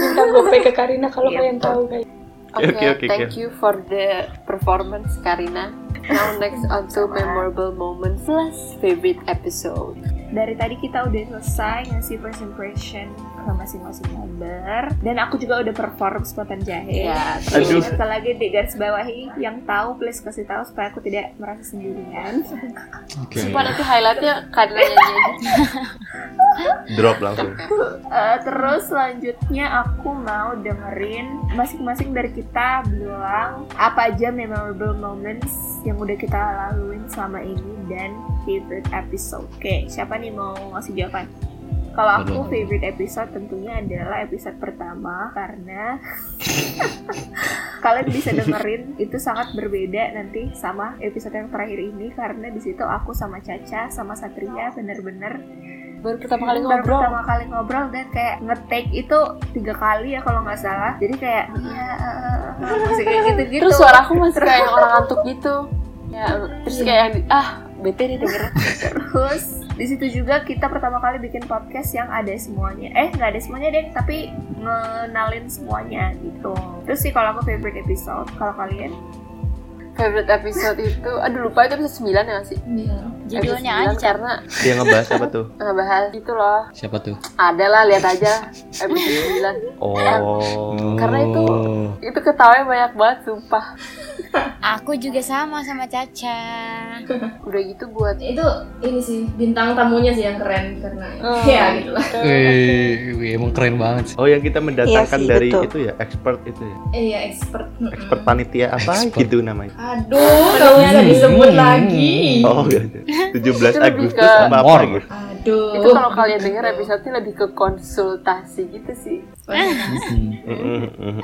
F: minta gope ke Karina kalau
A: Iya,
F: kalian
A: betul.
F: tahu guys
A: Oke,
D: Oke, oke,
A: thank you for the performance, Karina. Now next on to memorable moments plus favorite episode.
B: dari tadi kita udah selesai ngasih first impression ke masing-masing member dan aku juga udah perform spontan jahe
A: Ya,
D: Aduh.
B: Terus sekali lagi di garis bawahi yang tahu please kasih tahu supaya aku tidak merasa sendirian.
C: Oke.
A: Sumpah nanti highlightnya Karina nyanyi aja.
D: Drop langsung.
B: Eh, terus selanjutnya aku mau dengerin masing-masing dari kita bilang apa aja memorable moments yang udah kita laluin selama ini dan favorite episode. Oke, siapa nih mau ngasih jawaban? Kalau aku favorite episode tentunya adalah episode pertama karena kalian bisa dengerin itu sangat berbeda nanti sama episode yang terakhir ini karena di situ aku sama Caca sama Satria bener-bener
A: Baru pertama kali
B: Baru
A: ngobrol.
B: pertama kali ngobrol dan kayak nge-take itu tiga kali ya kalau nggak salah jadi kayak ya, eh, eh, masih kayak gitu gitu
A: Hmm. Terus suara aku masih kayak orang ngantuk gitu. Ya, terus
B: Iya.
A: kayak yang di- ah bete nih dengerin.
B: terus di situ juga kita pertama kali bikin podcast yang ada semuanya eh nggak ada semuanya deh tapi ngenalin semuanya gitu terus sih kalau aku favorite episode kalau kalian
A: Favorite episode itu, aduh lupa itu episode 9 ya nggak sih?
H: Iya.
A: Episode
E: Judulnya
A: 9
D: Iya.
E: aja Cap.
A: karena
D: Dia ngebahas apa tuh?
A: ngebahas itu loh.
C: Siapa tuh?
A: Ada lah lihat aja episode 9.
D: Oh.
A: Karena itu itu ketawanya banyak banget sumpah.
E: Aku juga sama sama Caca. Eh,
A: Udah gitu buat
H: itu ini sih bintang tamunya sih yang keren karena ya gitu lah
C: Eh, wih, emang keren banget sih.
D: Oh yang kita mendatangkan
G: Iya sih,
D: dari
G: betul.
D: itu ya expert itu ya
H: iya expert Mm-mm.
D: expert panitia apa
C: Expert.
D: gitu namanya
H: aduh kalau bisa
C: Hmm.
H: disebut lagi
D: oh iya, iya. 17
A: Itu lebih
D: Agustus
A: ke-
D: apa apa
C: Mor.
D: gitu
H: aduh
A: itu kalau kalian denger episode-nya lebih ke konsultasi gitu sih.
C: Mm-mm.
D: Mm,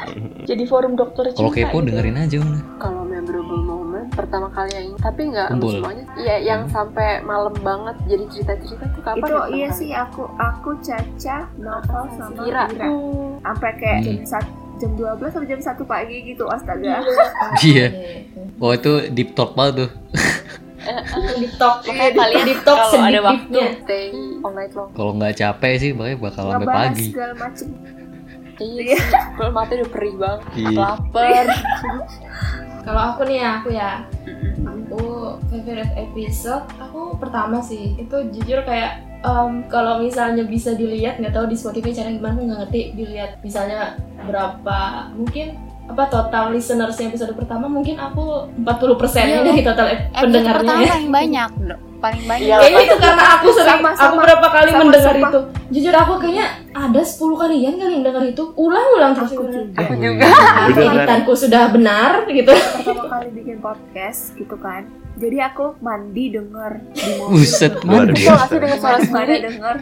F: jadi forum dokter
C: Hmm. Kalau
F: cinta
C: kepo
F: gitu.
C: dengerin aja udah.
A: Kalau memorable moment pertama kali yang ini, tapi nggak
C: Kumpul. Hmm.
A: semuanya. Iya, yang sampai malam banget jadi cerita-cerita tuh kapan? ya,
B: itu iya
A: pertama
B: sih aku aku Caca Novel sama
A: Ira.
B: Ira sampai kayak
C: Hmm.
B: jam sat- jam 12 sampai jam 1 pagi gitu astaga
C: Iya. Oh itu deep talk banget tuh.
H: di top
A: Makanya kalian
H: di top
A: kalau ada waktu
H: sedikitnya
A: stay all night long.
C: Kalau nggak capek sih, makanya bakal sampai
B: ngebahas
C: pagi.
B: segala macem
A: Iya, sih, belum mati udah perih banget.
C: Iya.
A: Laper.
H: kalau aku nih ya aku ya aku favorite episode aku pertama sih itu jujur kayak em, kalau misalnya bisa dilihat nggak tahu di Spotify cara gimana aku nggak ngerti dilihat misalnya berapa mungkin apa total listenersnya episode pertama mungkin aku 40 persennya
E: Iya.
H: dari total ep-
E: Episode
H: pendengarnya
E: pertama yang banyak. Paling banyak.
D: Iya,
H: Kayaknya itu karena aku sering,
B: Ya, Sama,
H: aku
B: sama.
H: berapa kali
B: Sama,
H: mendengar
B: sumpah.
H: itu Jujur aku kayaknya ada 10 kalian kali yang dengar itu Ulang-ulang terus
B: aku
H: beneran.
B: juga
C: juga.
D: beneran
H: Penglihatanku sudah benar gitu
B: pertama kali bikin podcast gitu kan jadi aku mandi denger di mobil
C: Buset,
D: luar
C: mantap.
A: Kok ngasih
D: biasa
A: dengan suara
B: Mana
A: sendiri?
B: denger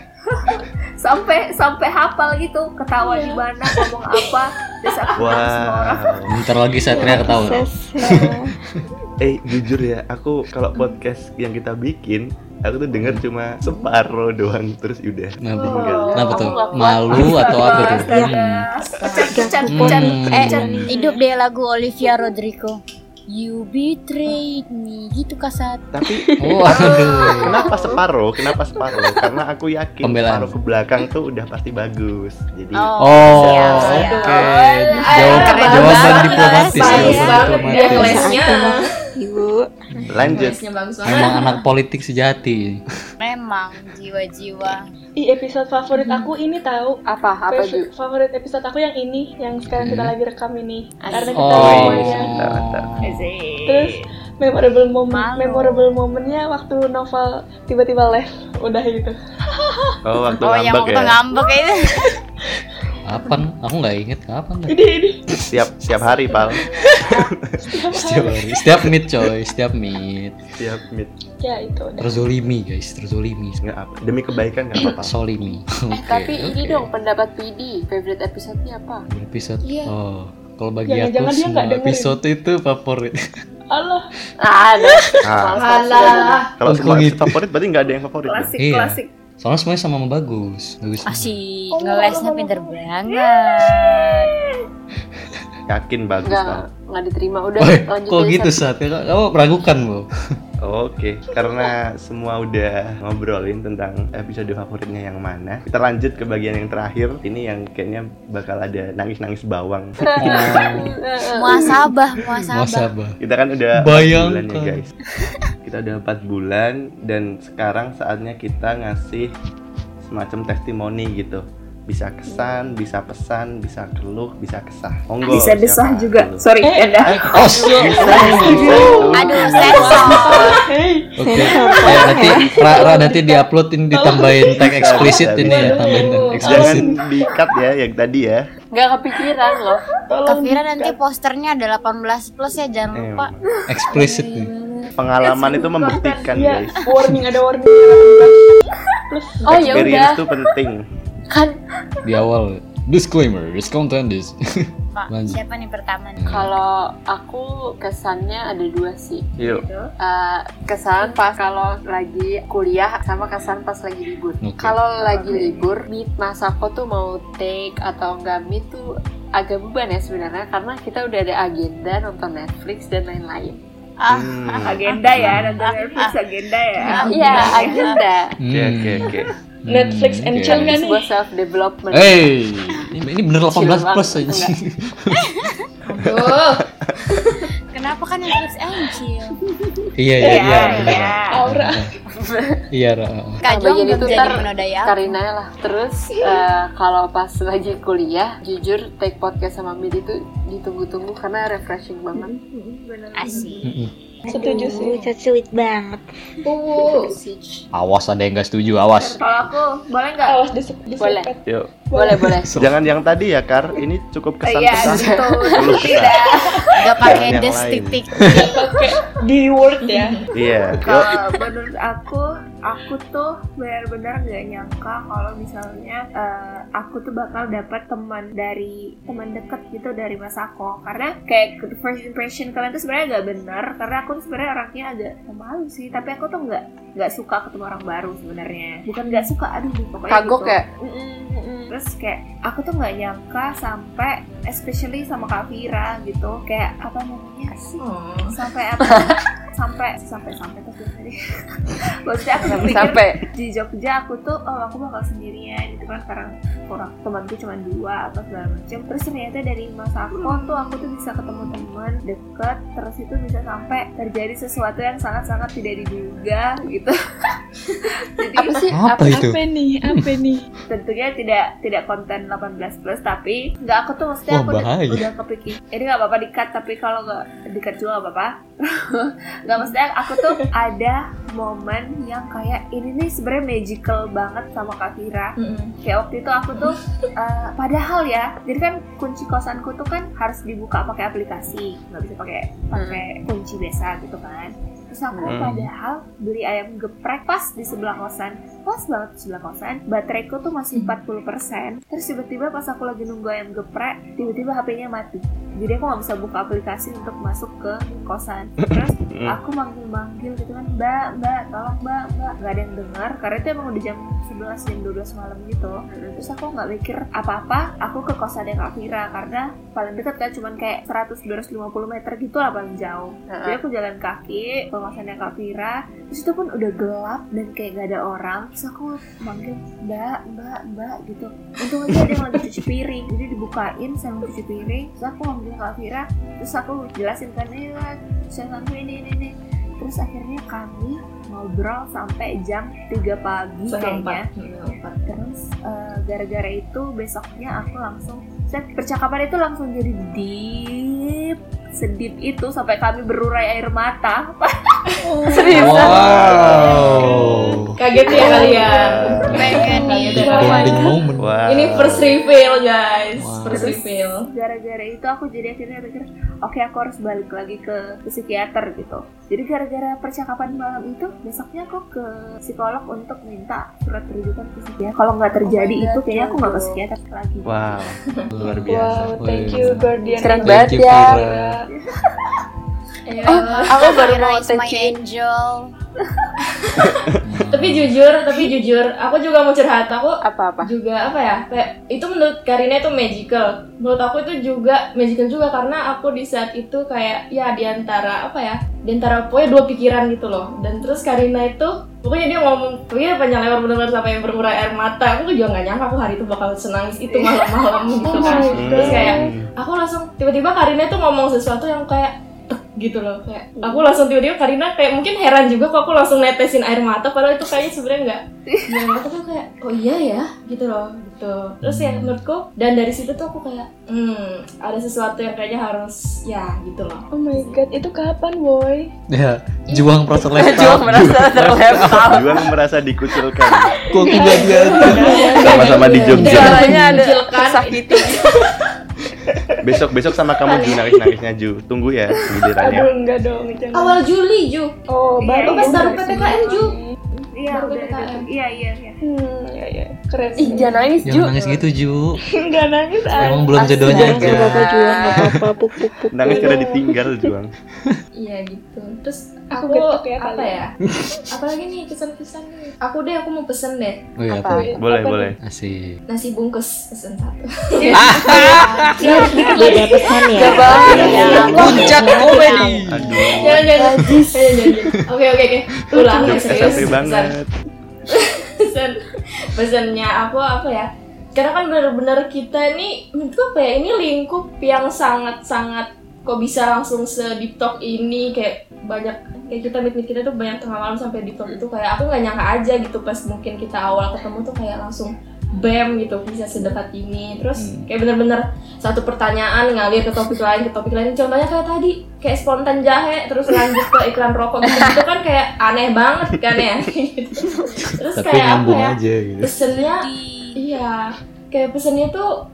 B: sampai sampai hafal gitu ketawa di mana ngomong apa terus aku bilang semua orang
D: wow
C: Bentar lagi
E: Iya,
C: Satria ketawa.
D: eh jujur ya aku kalau podcast yang kita bikin aku tuh denger cuma separuh doang terus udah
C: Kenapa?
E: Oh.
D: Tinggal.
C: Kenapa
A: Aku
C: tuh?
A: nggak kuat. ya.
C: Malu atau apa tuh? Hmm.
D: Iya.
E: Eh,
C: Hmm.
E: hidup deh lagu Olivia Rodrigo. You betrayed me gitu kasat.
D: tapi
C: Waduh.
D: kenapa separuh kenapa separuh karena aku yakin
C: Pembelaan.
D: separuh ke belakang tuh udah pasti bagus jadi
C: Oh,
E: siap,
C: oke.
E: siap.
C: Jawab-
E: keren
C: jawaban
E: banget,
C: diplomatis.
E: Mas.
C: jawaban
E: Bagus
H: banget dia
C: diplomatis.
H: kelas. Lesnya.
G: Ibu.
D: lanjut
H: Voice-nya bagus banget
C: Emang anak politik sejati.
E: Memang jiwa-jiwa.
F: Ih, episode favorit aku ini tahu
A: Apa? Hmm. Apa
F: Fav-
A: juga?
F: favorit episode aku yang ini yang sekarang kita
C: Hmm.
F: lagi rekam ini karena kita
C: Oh.
F: semuanya
D: Bentar, bentar.
F: terus memorable moment
E: Malu.
F: memorable momennya waktu novel tiba-tiba left udah gitu
D: oh waktu
E: Oh, yang
D: ngambek
E: waktu
D: ya
E: ngambek itu.
C: Kapan? Aku nggak inget kapan. tuh.
F: ini ini
D: setiap setiap hari pal
C: Setiap hari. Setiap meet coy, setiap meet.
D: setiap meet
F: ya itu udah
C: Terzolimi guys, terzolimi.
D: nggak apa demi kebaikan nggak apa-apa
C: Solimi.
A: Eh, tapi ini dong pendapat PD, favorite episode-nya apa?
C: Episode.
H: Iya.
C: Oh, kalau bagi aku
F: Jangan-jangan dia nggak
C: semua
F: dengerin.
C: episode itu favorit.
F: Allah
A: Ada.
D: Ah,
H: Alah.
D: kalau
C: Kok
D: semua
C: gitu?
D: favorit berarti nggak ada yang favorit. ya? Bang?
B: klasik
C: Iya.
B: klasik
C: Soalnya semuanya sama sama bagus. Bagus. semua.
E: Asih, Oh, ngelesnya pinter banget.
D: Yakin bagus
A: Enggak,
D: Bang.
A: enggak diterima. Udah
C: Woi,
A: lanjut
C: kok
A: aja,
C: gitu
A: Sat.
C: saat kamu meragukan bu?
D: Oke, karena semua udah ngobrolin tentang episode favoritnya yang mana, kita lanjut ke bagian yang terakhir. Ini yang kayaknya bakal ada nangis-nangis bawang.
E: Iya. Muasabah, muasabah.
C: Muasabah.
D: Kita kan udah empat
C: Bayangkan.
D: bulan ya guys. Kita udah empat bulan dan sekarang saatnya kita ngasih semacam testimoni gitu. Bisa kesan, bisa pesan, bisa keluh, bisa kesah. Monggo.
B: bisa desah
D: siapa
B: juga
D: dulu?
B: sorry ya dah
C: Oh, siap.
E: Aduh, sensor.
C: Oke, ya, nanti Ra, Ra nanti diupload ini ditambahin tag eksplisit ini ya, tambahin tag eksplisit.
D: Jangan di-cut ya yang tadi ya.
A: Enggak kepikiran loh.
E: Kafira nanti posternya ada 18 plus ya, jangan
D: Em,
E: lupa.
C: Eksplisit nih.
D: Pengalaman itu membuktikan
F: ya
D: guys.
F: warning ada warning
A: Oh ya udah. Kan
D: Experience itu penting.
C: Di awal disclaimer, this content is.
E: Pak,
C: Lanjut.
E: siapa nih pertama nih?
D: Iya.
A: Kalau aku kesannya ada dua sih.
D: Yuk.
A: Eh, kesan pas kalau lagi kuliah sama kesan pas lagi libur.
C: Oke.
A: Kalau lagi libur, meet masako tuh mau take atau enggak meet tuh agak beban ya sebenarnya karena kita udah ada agenda nonton Netflix dan lain-lain.
E: Ah,
D: Hmm.
B: agenda ya nanti Netflix agenda ya
A: Iya, agenda.
D: Oke oke
C: Hmm,
D: oke.
F: Netflix and chill nggak nih
A: Sebuah self development.
C: Hey, ini ini bener 18 plus
A: Chill
C: aja.
A: banget,
H: Aduh.
E: kenapa kan Netflix Angel?
C: Iya iya iya. bener.
F: Aura
C: Iya, Ra.
E: Kak
A: Nah,
E: Jong
A: bagian
E: belum
A: itu
E: jadi
A: ntar
E: penodai aku.
A: Karina lah. Terus eh, kalau pas lagi kuliah, jujur take podcast sama Mid itu ditunggu-tunggu karena refreshing banget.
E: Asih.
C: Mm-mm.
F: setuju sih
G: Cacilit banget.
H: Uh.
F: Hmm.
C: Awas ada yang gak setuju, awas.
B: kalau aku boleh nggak
F: awas disep
A: Boleh.
F: disepet
D: Yuk.
A: Boleh boleh.
D: Jangan yang tadi ya Kar. Ini cukup kesan
B: Iya,
D: kesan.
B: gitu.
D: Perlu kesan.
E: Gak pakai
D: Yang
E: des
D: lain.
E: titik.
F: pakai di word ya
D: Iya. Yuk.
B: Kalau menurut aku, aku tuh benar-benar nggak nyangka kalau misalnya eh, aku tuh bakal dapat teman dari teman deket gitu dari Mas Ako. Karena kayak first impression kalian tuh sebenarnya nggak benar. Karena aku tuh sebenarnya orangnya agak malu sih. Tapi aku tuh nggak nggak suka ketemu orang baru sebenarnya. Bukan nggak suka, aduh pokoknya
A: Kagok
B: gitu.
A: ya?
B: Mm-mm, mm-mm. Terus kayak aku tuh nggak nyangka sampai especially sama Kak Vira gitu kayak apa namanya sih
A: Hmm.
B: sampai apa sampai sampai sampai tuh tadi maksudnya aku
A: Jangan
B: pikir
A: sampai.
B: di Jogja aku tuh oh aku bakal sendirian gitu kan sekarang kurang temanku cuma dua atau segala macam terus ternyata dari masa aku tuh aku tuh bisa ketemu teman deket terus itu bisa sampai terjadi sesuatu yang sangat sangat tidak diduga gitu jadi
A: Apa sih?
C: Apa itu?
F: apa nih apa nih
B: tentunya tidak tidak konten 18 plus tapi nggak aku tuh maksudnya
C: Wah,
B: aku udah,
C: bahaya.
B: udah kepikiran ini nggak apa-apa dikat tapi kalau nggak dikat juga nggak apa-apa nggak maksudnya aku tuh ada momen yang kayak ini nih sebenarnya magical banget sama Kak Fira kayak waktu itu aku tuh eh, padahal ya jadi kan kunci kosanku tuh kan harus dibuka pakai aplikasi nggak bisa pakai pakai kunci biasa gitu kan terus aku
D: Hmm.
B: padahal beli ayam geprek pas di sebelah kosan pas banget di sebelah kosan bateraiku tuh masih 40% terus tiba-tiba pas aku lagi nunggu ayam geprek tiba-tiba HP-nya mati jadi aku nggak bisa buka aplikasi untuk masuk ke kosan terus
D: Hmm.
B: aku manggil-manggil gitu kan mbak mbak tolong mbak mbak nggak ada yang dengar karena itu emang udah jam 11 jam 12 malam gitu terus aku nggak mikir apa-apa aku ke kosannya Kak Vira karena paling dekat kan cuman kayak 100-250 meter gitu lah paling jauh jadi aku jalan kaki ke kosannya Kak Vira terus itu pun udah gelap dan kayak gak ada orang terus aku manggil mbak mbak mbak gitu untung aja ada yang lagi cuci piring jadi dibukain sambil cuci piring terus aku manggil Kak Vira terus aku jelasin kan "Eh, saya laku ini ini ini terus akhirnya kami ngobrol sampai jam 3 pagi
H: Setengah
B: kayaknya
H: empat. Setengah empat.
B: terus eh, gara-gara itu besoknya aku langsung set percakapan itu langsung jadi deep sedip itu sampai kami berurai air mata
C: Wow.
H: Kaget ya kalian.
E: Pengen
H: Iya,
E: nih.
C: Big bonding moment.
D: Wow.
H: ya? Ini first reveal guys.
C: Wow.
H: First reveal.
B: gara-gara itu aku jadi akhirnya mikir oke aku harus balik lagi ke, ke psikiater gitu jadi gara-gara percakapan malam itu besoknya aku ke psikolog untuk minta surat rujukan ke psikiater kalau nggak terjadi
A: Oh my
B: itu
A: God, Iya,
B: kayaknya aku nggak ke
A: Jojo.
B: psikiater lagi
D: Wow. Luar biasa.
F: wow Oh, thank you guardian
A: Keren
F: angel.
A: banget
C: Thank you,
A: ya.
C: Fira.
H: Ya.
B: Oh,
E: Aku Oh, baru
G: mau
E: my angel.
H: tapi jujur, tapi jujur, aku juga mau curhat. Aku
A: Apa-apa?
H: juga apa ya kayak itu menurut Karina itu magical menurut aku itu juga magical juga karena aku di saat itu kayak ya diantara apa ya diantara pokoknya dua pikiran gitu loh dan terus Karina itu pokoknya dia ngomong pokoknya panjang lebar benar-benar sampai yang bermurai air mata aku juga nggak nyangka aku hari itu bakal senangis itu malam-malam
F: Oh
H: gitu kan
D: Hmm.
H: terus kayak aku langsung tiba-tiba Karina tuh ngomong sesuatu yang kayak "Tek," gitu loh kayak aku langsung tiba-tiba Karina kayak mungkin heran juga kok aku langsung netesin air mata padahal itu kayaknya sebenarnya nggak air mata tuh kayak oh iya ya gitu loh gitu terus ya menurutku dan dari situ tuh aku kayak hmm ada sesuatu yang kayaknya harus ya gitu loh
F: Oh my god, itu kapan boy?
C: Ya, juang merasa lifestyle.
A: Juang merasa terlempar.
D: Juang merasa dikucilkan.
C: Kok aku gak diantar?
H: Iya,
D: Sama-sama di Jogja.
A: Suaranya ada
H: Dikucilkan.
A: sakiti.
D: Besok besok sama kamu Ju nangis nangisnya Ju. Tunggu ya
F: Aduh
D: gilirannya.
F: enggak dong, jangan.
H: Iya. awal Juli Ju
F: Oh, baru
H: Lu pas ya, baru PPKM Ju
I: Iya,
H: Baru
I: udah,
H: PPKM.
I: udah. Iya, iya, iya.
F: Hmm, ya ya, keren.
A: Ih, jangan nangis, Ju.
C: Jangan nangis gitu, Ju.
F: Enggak nangis ah.
C: Emang belum jodohnya
G: Jangan
C: aja.
G: gak apa-apa juga, gak apa-apa, puk puk puk.
D: Nangis karena ditinggal Juang.
H: iya gitu terus
F: Aku
H: aku,
F: getok ya
H: apa
F: kali.
H: ya apalagi nih pesan-pesan nih aku deh aku mau pesen deh
C: Oh iya,
A: Apa?
C: apa?
D: Boleh boleh.
C: Asik.
H: nasi bungkus pesen satu
G: Beda pesan ya.
H: Iya,
C: Puncak komedi.
D: Aduh.
H: jangan jangan jangan jangan oke oke oke ulang
D: Jok
H: serius
D: SMP
H: Iya,
D: banget.
H: pesan pesannya aku apa ya karena kan bener-bener kita ini itu apa ya ini lingkup yang sangat-sangat kok bisa langsung se deep talk ini kayak banyak kayak kita meet meet kita tuh banyak tengah malam sampai deep talk itu kayak aku nggak nyangka aja gitu pas mungkin kita awal ketemu tuh kayak langsung bam gitu bisa sedekat ini terus
C: Hmm.
H: kayak bener-bener satu pertanyaan ngalir ke topik lain ke topik lain contohnya kayak tadi kayak spontan jahe terus lanjut ke iklan rokok gitu, gitu kan kayak aneh banget kan ya gitu. terus
C: Tapi
H: kayak apa
C: nyambung
H: ya
C: aja gitu.
H: pesennya iya kayak pesennya tuh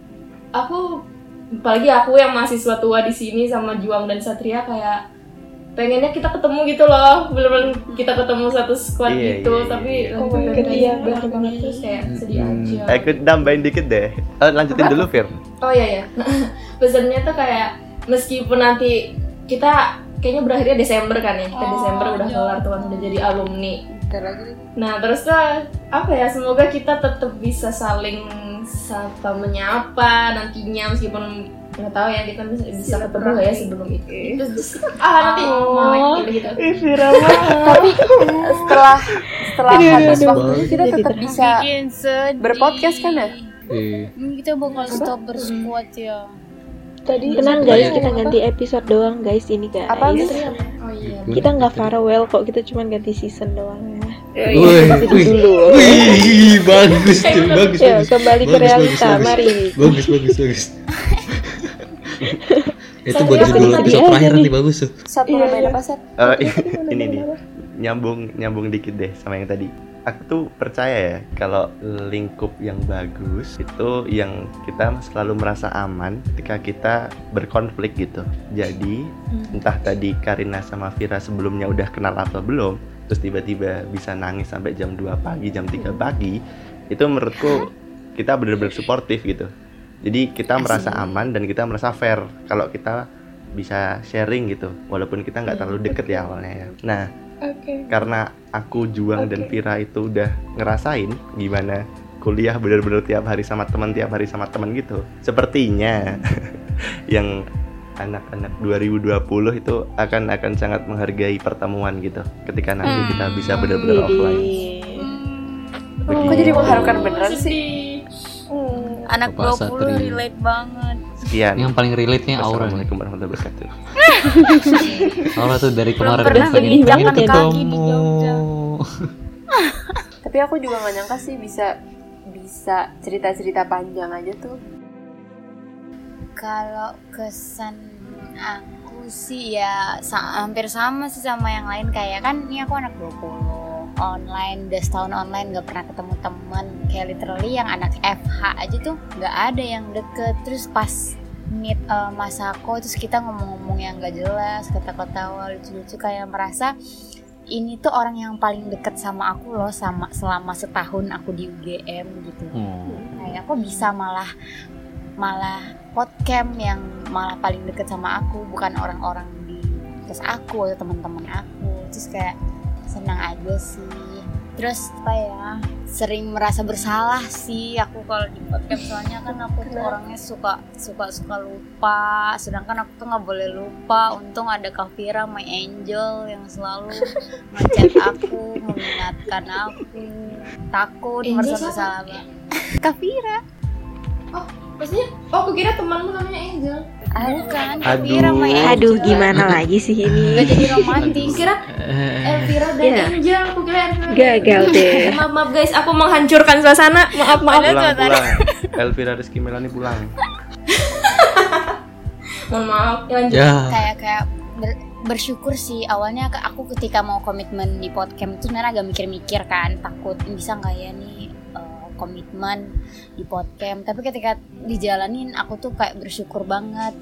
H: aku apalagi aku yang mahasiswa tua di sini sama Juang dan Satria kayak pengennya kita ketemu gitu loh belum kita ketemu satu squad
D: Iya,
H: gitu
D: iya, iya,
H: tapi
D: iya.
F: Oh
H: lebih
F: my God,
H: baik
F: iya,
H: aja.
F: bener banget.
H: terus kayak sedih aja
D: Eh, aku nambahin dikit deh. Eh, lanjutin dulu Fir.
H: Oh iya ya. Pesannya tuh kayak meskipun nanti kita kayaknya berakhirnya Desember kan ya.
A: Oh,
H: Kita Desember udah
A: iya.
H: keluar tuh kan, udah jadi alumni. Nah, terus tuh apa ya? Semoga kita tetap bisa saling sapa menyapa nantinya meskipun nggak tahu ya kita bisa, bisa ketemu nggak ya sebelum itu.
A: Iya.
H: Terus ah nanti
A: Oh.
H: mau gitu.
F: Ih, Vira mah.
A: Tapi setelah setelah
C: iya,
A: habis waktu itu kita tetap bisa berpodcast kan ya?
C: Eh,
E: Hmm, kita bakal stop bersquat ya.
F: Tadi
G: Tenang guys, kita ganti episode doang guys ini guys.
A: Apa Miss?
H: Oh iya.
G: Kita nggak farewell kok, kita cuma ganti season doang ya.
C: Wih,
G: Jadi
C: wih,
G: dulu.
C: wih, bagus, Ju. bagus,
G: Yuk,
F: gitu.
C: bagus.
G: Iya, kembali ke
C: Bagus,
G: realita,
C: bagus, bagus.
G: mari.
C: Bagus, bagus, bagus. Itu buat
H: Satria,
C: judul
H: Satria
C: episode
G: aja
C: terakhir
G: nih.
C: nanti bagus tuh.
A: Satu
F: Iya,
A: nama
F: iya.
A: apa Sat?
D: Eh, ini nih nyambung nyambung dikit deh sama yang tadi aku tuh percaya ya kalau lingkup yang bagus itu yang kita selalu merasa aman ketika kita berkonflik gitu jadi entah tadi Karina sama Vira sebelumnya udah kenal apa belum terus tiba-tiba bisa nangis sampai jam 2 pagi jam 3 pagi itu menurutku kita bener-bener suportif gitu jadi kita merasa aman dan kita merasa fair kalau kita bisa sharing gitu walaupun kita nggak terlalu deket ya awalnya ya nah
F: Oke.
D: karena aku Juang dan
F: Oke.
D: Vira itu udah ngerasain gimana kuliah bener-bener tiap hari sama teman tiap hari sama teman gitu sepertinya yang anak-anak 2020 itu akan akan sangat menghargai pertemuan gitu ketika nanti kita bisa bener-bener offline
A: Kok
D: Begitu.
A: jadi
H: Oh,
A: mengharukan beneran sih?
F: Hmm.
E: Anak
C: Bapak
E: 20
C: Satria.
E: relate banget.
D: sekian
C: Yang paling relate nya Aura nih.
D: Assalamualaikum warahmatullahi wabarakatuh
C: Aura tuh dari kemarin
E: pernah
C: pengen
E: menginjakan
C: banget
E: kaki di
C: ketemu.
A: Tapi aku juga gak nyangka sih bisa bisa cerita-cerita panjang aja tuh.
E: Kalau kesan aku sih ya sa- hampir sama sih sama yang lain kayak kan ini aku anak 20 online udah setahun online gak pernah ketemu temen kayak literally yang anak FH aja tuh gak ada yang deket terus pas meet eh, Masako terus kita ngomong-ngomong yang gak jelas kata-kata lucu-lucu kayak merasa ini tuh orang yang paling deket sama aku loh sama selama setahun aku di UGM gitu
C: Hmm.
E: kayak kok bisa malah malah podcast yang malah paling deket sama aku bukan orang-orang di podcast aku atau teman-teman aku terus kayak senang aja sih terus apa ya sering merasa bersalah sih aku kalau di podcast soalnya kan aku tuh orangnya suka suka suka lupa sedangkan aku tuh nggak boleh lupa untung ada Kavira my angel yang selalu ngechat aku mengingatkan aku takut
H: Angel
E: merasa
H: siapa?
E: bersalah banget Kavira
H: Maksudnya, oh aku kira temanmu namanya Angel.
E: Ah, bukan ya.
D: Aduh.
E: Kavira my angel
G: Aduh, gimana lagi sih
E: Gak
G: ini?
E: jadi romantis
H: Aku kira Elvira dan
G: Iya.
H: Angel, aku kira Elvira. dan-
G: Gagal deh.
H: Maaf maaf guys, aku menghancurkan suasana. Maaf maaf.
D: pulang pulang Elvira Rizky Melani pulang
H: Mohon maaf. Ya,
F: Iya,
H: lanjut.
G: Iya.
C: ya
E: kayak kayak ber- bersyukur sih awalnya ke- aku ketika mau komitmen di podcast itu sebenarnya agak mikir-mikir kan takut "Ih, bisa nggak ya nih eh, komitmen di podcast tapi ketika dijalanin aku tuh kayak bersyukur banget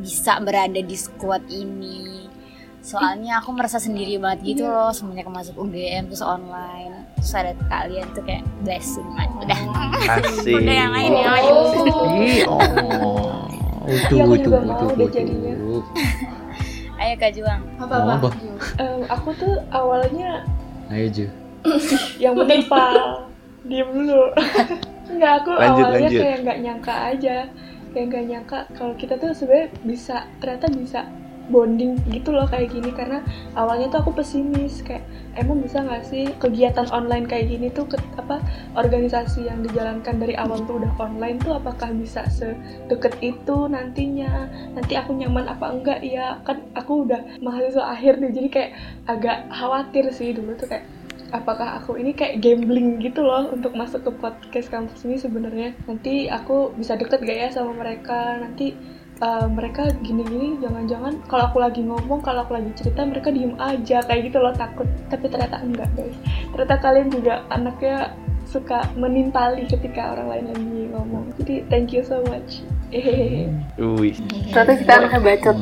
E: bisa berada di squad ini soalnya aku merasa sendiri banget gitu loh semenjak masuk UGM terus online terus ada kalian tuh kayak blessing banget udah
D: asik
E: Udah yang lain ya.
D: Ih, oh.
C: itu
F: Iya, aku
C: itu
F: juga mau
C: itu
F: deh
C: itu
F: jadinya.
E: ayo kak Juang
H: Apa
C: Mau
H: apa?
C: apa?
F: Em, aku tuh awalnya
C: ayo Ju
F: yang menimpa diem dulu nggak aku
D: Lanjut,
F: awalnya
D: lanjut.
F: kayak nggak nyangka aja kayak nggak nyangka kalau kita tuh sebenarnya bisa ternyata bisa bonding gitu loh kayak gini karena awalnya tuh aku pesimis kayak emang bisa nggak sih kegiatan online kayak gini tuh ke, apa organisasi yang dijalankan dari awal tuh udah online tuh apakah bisa sedekat itu nantinya nanti aku nyaman apa enggak ya kan aku udah mahasiswa akhir nih jadi kayak agak khawatir sih dulu tuh kayak apakah aku ini kayak gambling gitu loh untuk masuk ke podcast kampus ini sebenarnya nanti aku bisa deket gak ya sama mereka nanti uh, mereka gini-gini jangan-jangan kalau aku lagi ngomong kalau aku lagi cerita mereka diem aja kayak gitu loh takut tapi ternyata enggak guys ternyata kalian juga anaknya suka menimpali ketika orang lain lagi ngomong jadi thank you so much Hehehe.
D: Wih,
E: Iya.
A: Ternyata kita anaknya bacot.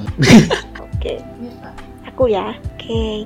G: Oke.
H: Iya, Kak.
G: aku ya oke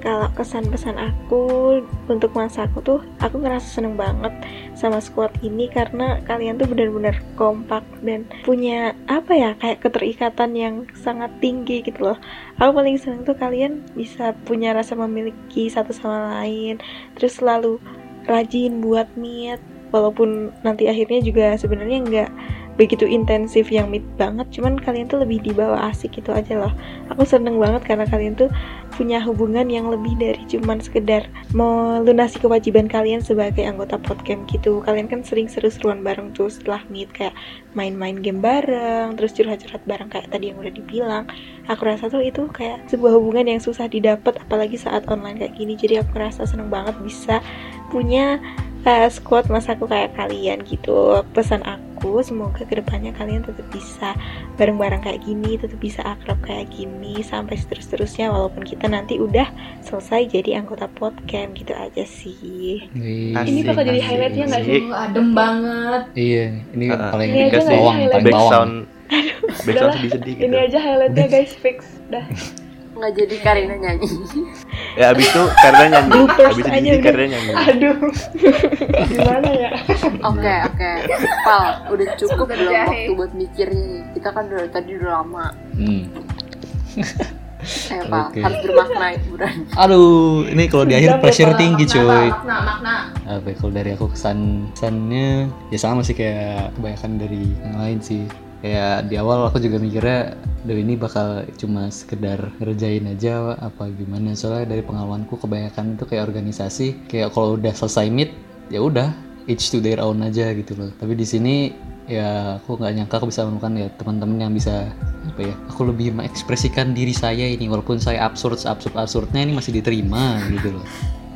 G: kalau kesan pesan aku untuk masa aku tuh aku ngerasa seneng banget sama squad ini karena kalian tuh benar-benar kompak dan punya apa ya kayak keterikatan yang sangat tinggi gitu loh aku paling seneng tuh kalian bisa punya rasa memiliki satu sama lain terus selalu rajin buat meet walaupun nanti akhirnya juga sebenarnya nggak begitu intensif yang meet banget cuman kalian tuh lebih dibawa asik gitu aja loh aku seneng banget karena kalian tuh punya hubungan yang lebih dari cuman sekedar melunasi kewajiban kalian sebagai anggota podcast gitu kalian kan sering seru-seruan bareng tuh setelah meet kayak main-main game bareng terus curhat-curhat bareng kayak tadi yang udah dibilang aku rasa tuh itu kayak sebuah hubungan yang susah didapat apalagi saat online kayak gini jadi aku ngerasa seneng banget bisa punya eh, squad masaku kayak kalian gitu pesan aku semoga kedepannya kalian tetap bisa bareng-bareng kayak gini, tetap bisa akrab kayak gini sampai seterus-terusnya walaupun kita nanti udah selesai jadi anggota podcast gitu aja sih.
C: Wih.
F: ini bakal jadi
D: Asik,
F: highlightnya nggak sih
D: asik.
H: Aduh, adem banget.
C: iya ini
D: Ah, ah.
C: paling
F: Ini aja
D: nggak
C: bawang
F: sih,
C: paling
D: back
C: bawang
D: sound back sound
F: Udahlah,
D: sedih-sedih gitu
F: ini aja highlightnya guys fix dah
A: Nggak jadi Karina nyanyi.
D: ya abis itu karena nyanyi
G: Bloopers
D: abis itu
G: aja
D: jadi
G: udah.
D: karena nyanyi
F: aduh gimana ya
A: Oke, oke. Pal, udah cukup
I: Sugar
A: belum
I: jahe.
A: waktu buat mikirnya nih. Kita kan dari tadi udah lama.
C: Hmm.
A: Eh, Pal,
C: Oke.
A: harus bermakna hiburan.
C: aduh ini kalau di akhir
H: Udah,
C: pressure
H: Pak.
C: tinggi
H: Makna, Pak.
C: coy
H: Makna, makna.
C: apa ya, kalau dari aku kesan kesannya ya sama sih kayak kebanyakan dari yang lain sih kayak di awal aku juga mikirnya dari ini bakal cuma sekedar ngerjain aja apa gimana soalnya dari pengalamanku kebanyakan itu kayak organisasi kayak kalau udah selesai meet ya udah each to their own aja gitu loh tapi di sini ya aku nggak nyangka aku bisa menemukan ya teman-teman yang bisa apa ya aku lebih mengekspresikan diri saya ini walaupun saya absurd absurd absurdnya ini masih diterima gitu loh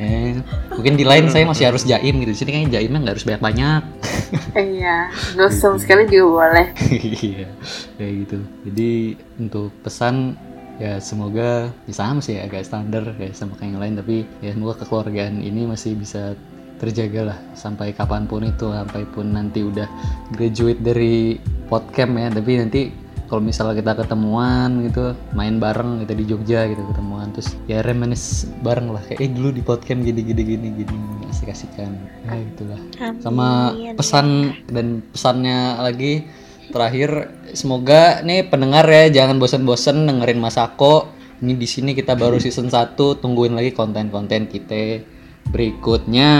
C: eh mungkin di lain saya masih harus jaim gitu di sini kayaknya jaimnya nggak harus banyak banyak
A: Iya, nggak usah sama sekali juga boleh.
C: iya kayak gitu jadi untuk pesan ya semoga ya sama sih ya, agak standar ya sama kayak yang lain tapi ya semoga kekeluargaan ini masih bisa terjaga lah sampai kapanpun itu sampai pun nanti udah graduate dari podcast ya tapi nanti kalau misalnya kita ketemuan gitu main bareng gitu di Jogja gitu ketemuan terus ya reminis bareng lah kayak eh dulu di podcast gini gini gini gini asik-asikan ya gitulah
G: Amin.
C: sama pesan dan pesannya lagi terakhir semoga nih pendengar ya jangan bosan-bosan dengerin Masako Ini di sini kita baru season 1, tungguin lagi konten-konten kita berikutnya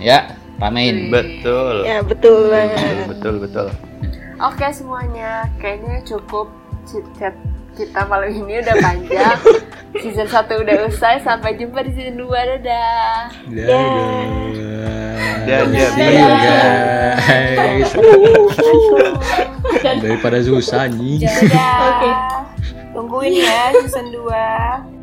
C: ya. Ramein.
D: Betul.
F: Iya.
G: Ya betul banget.
D: Betul, betul.
A: Oke semuanya, kayaknya cukup chit chat kita malam ini udah panjang. season 1 udah usai, sampai jumpa di season 2. Dadah.
D: Dan
C: See you guys. Daripada susah nih.
A: Dadah. Tungguin ya season 2.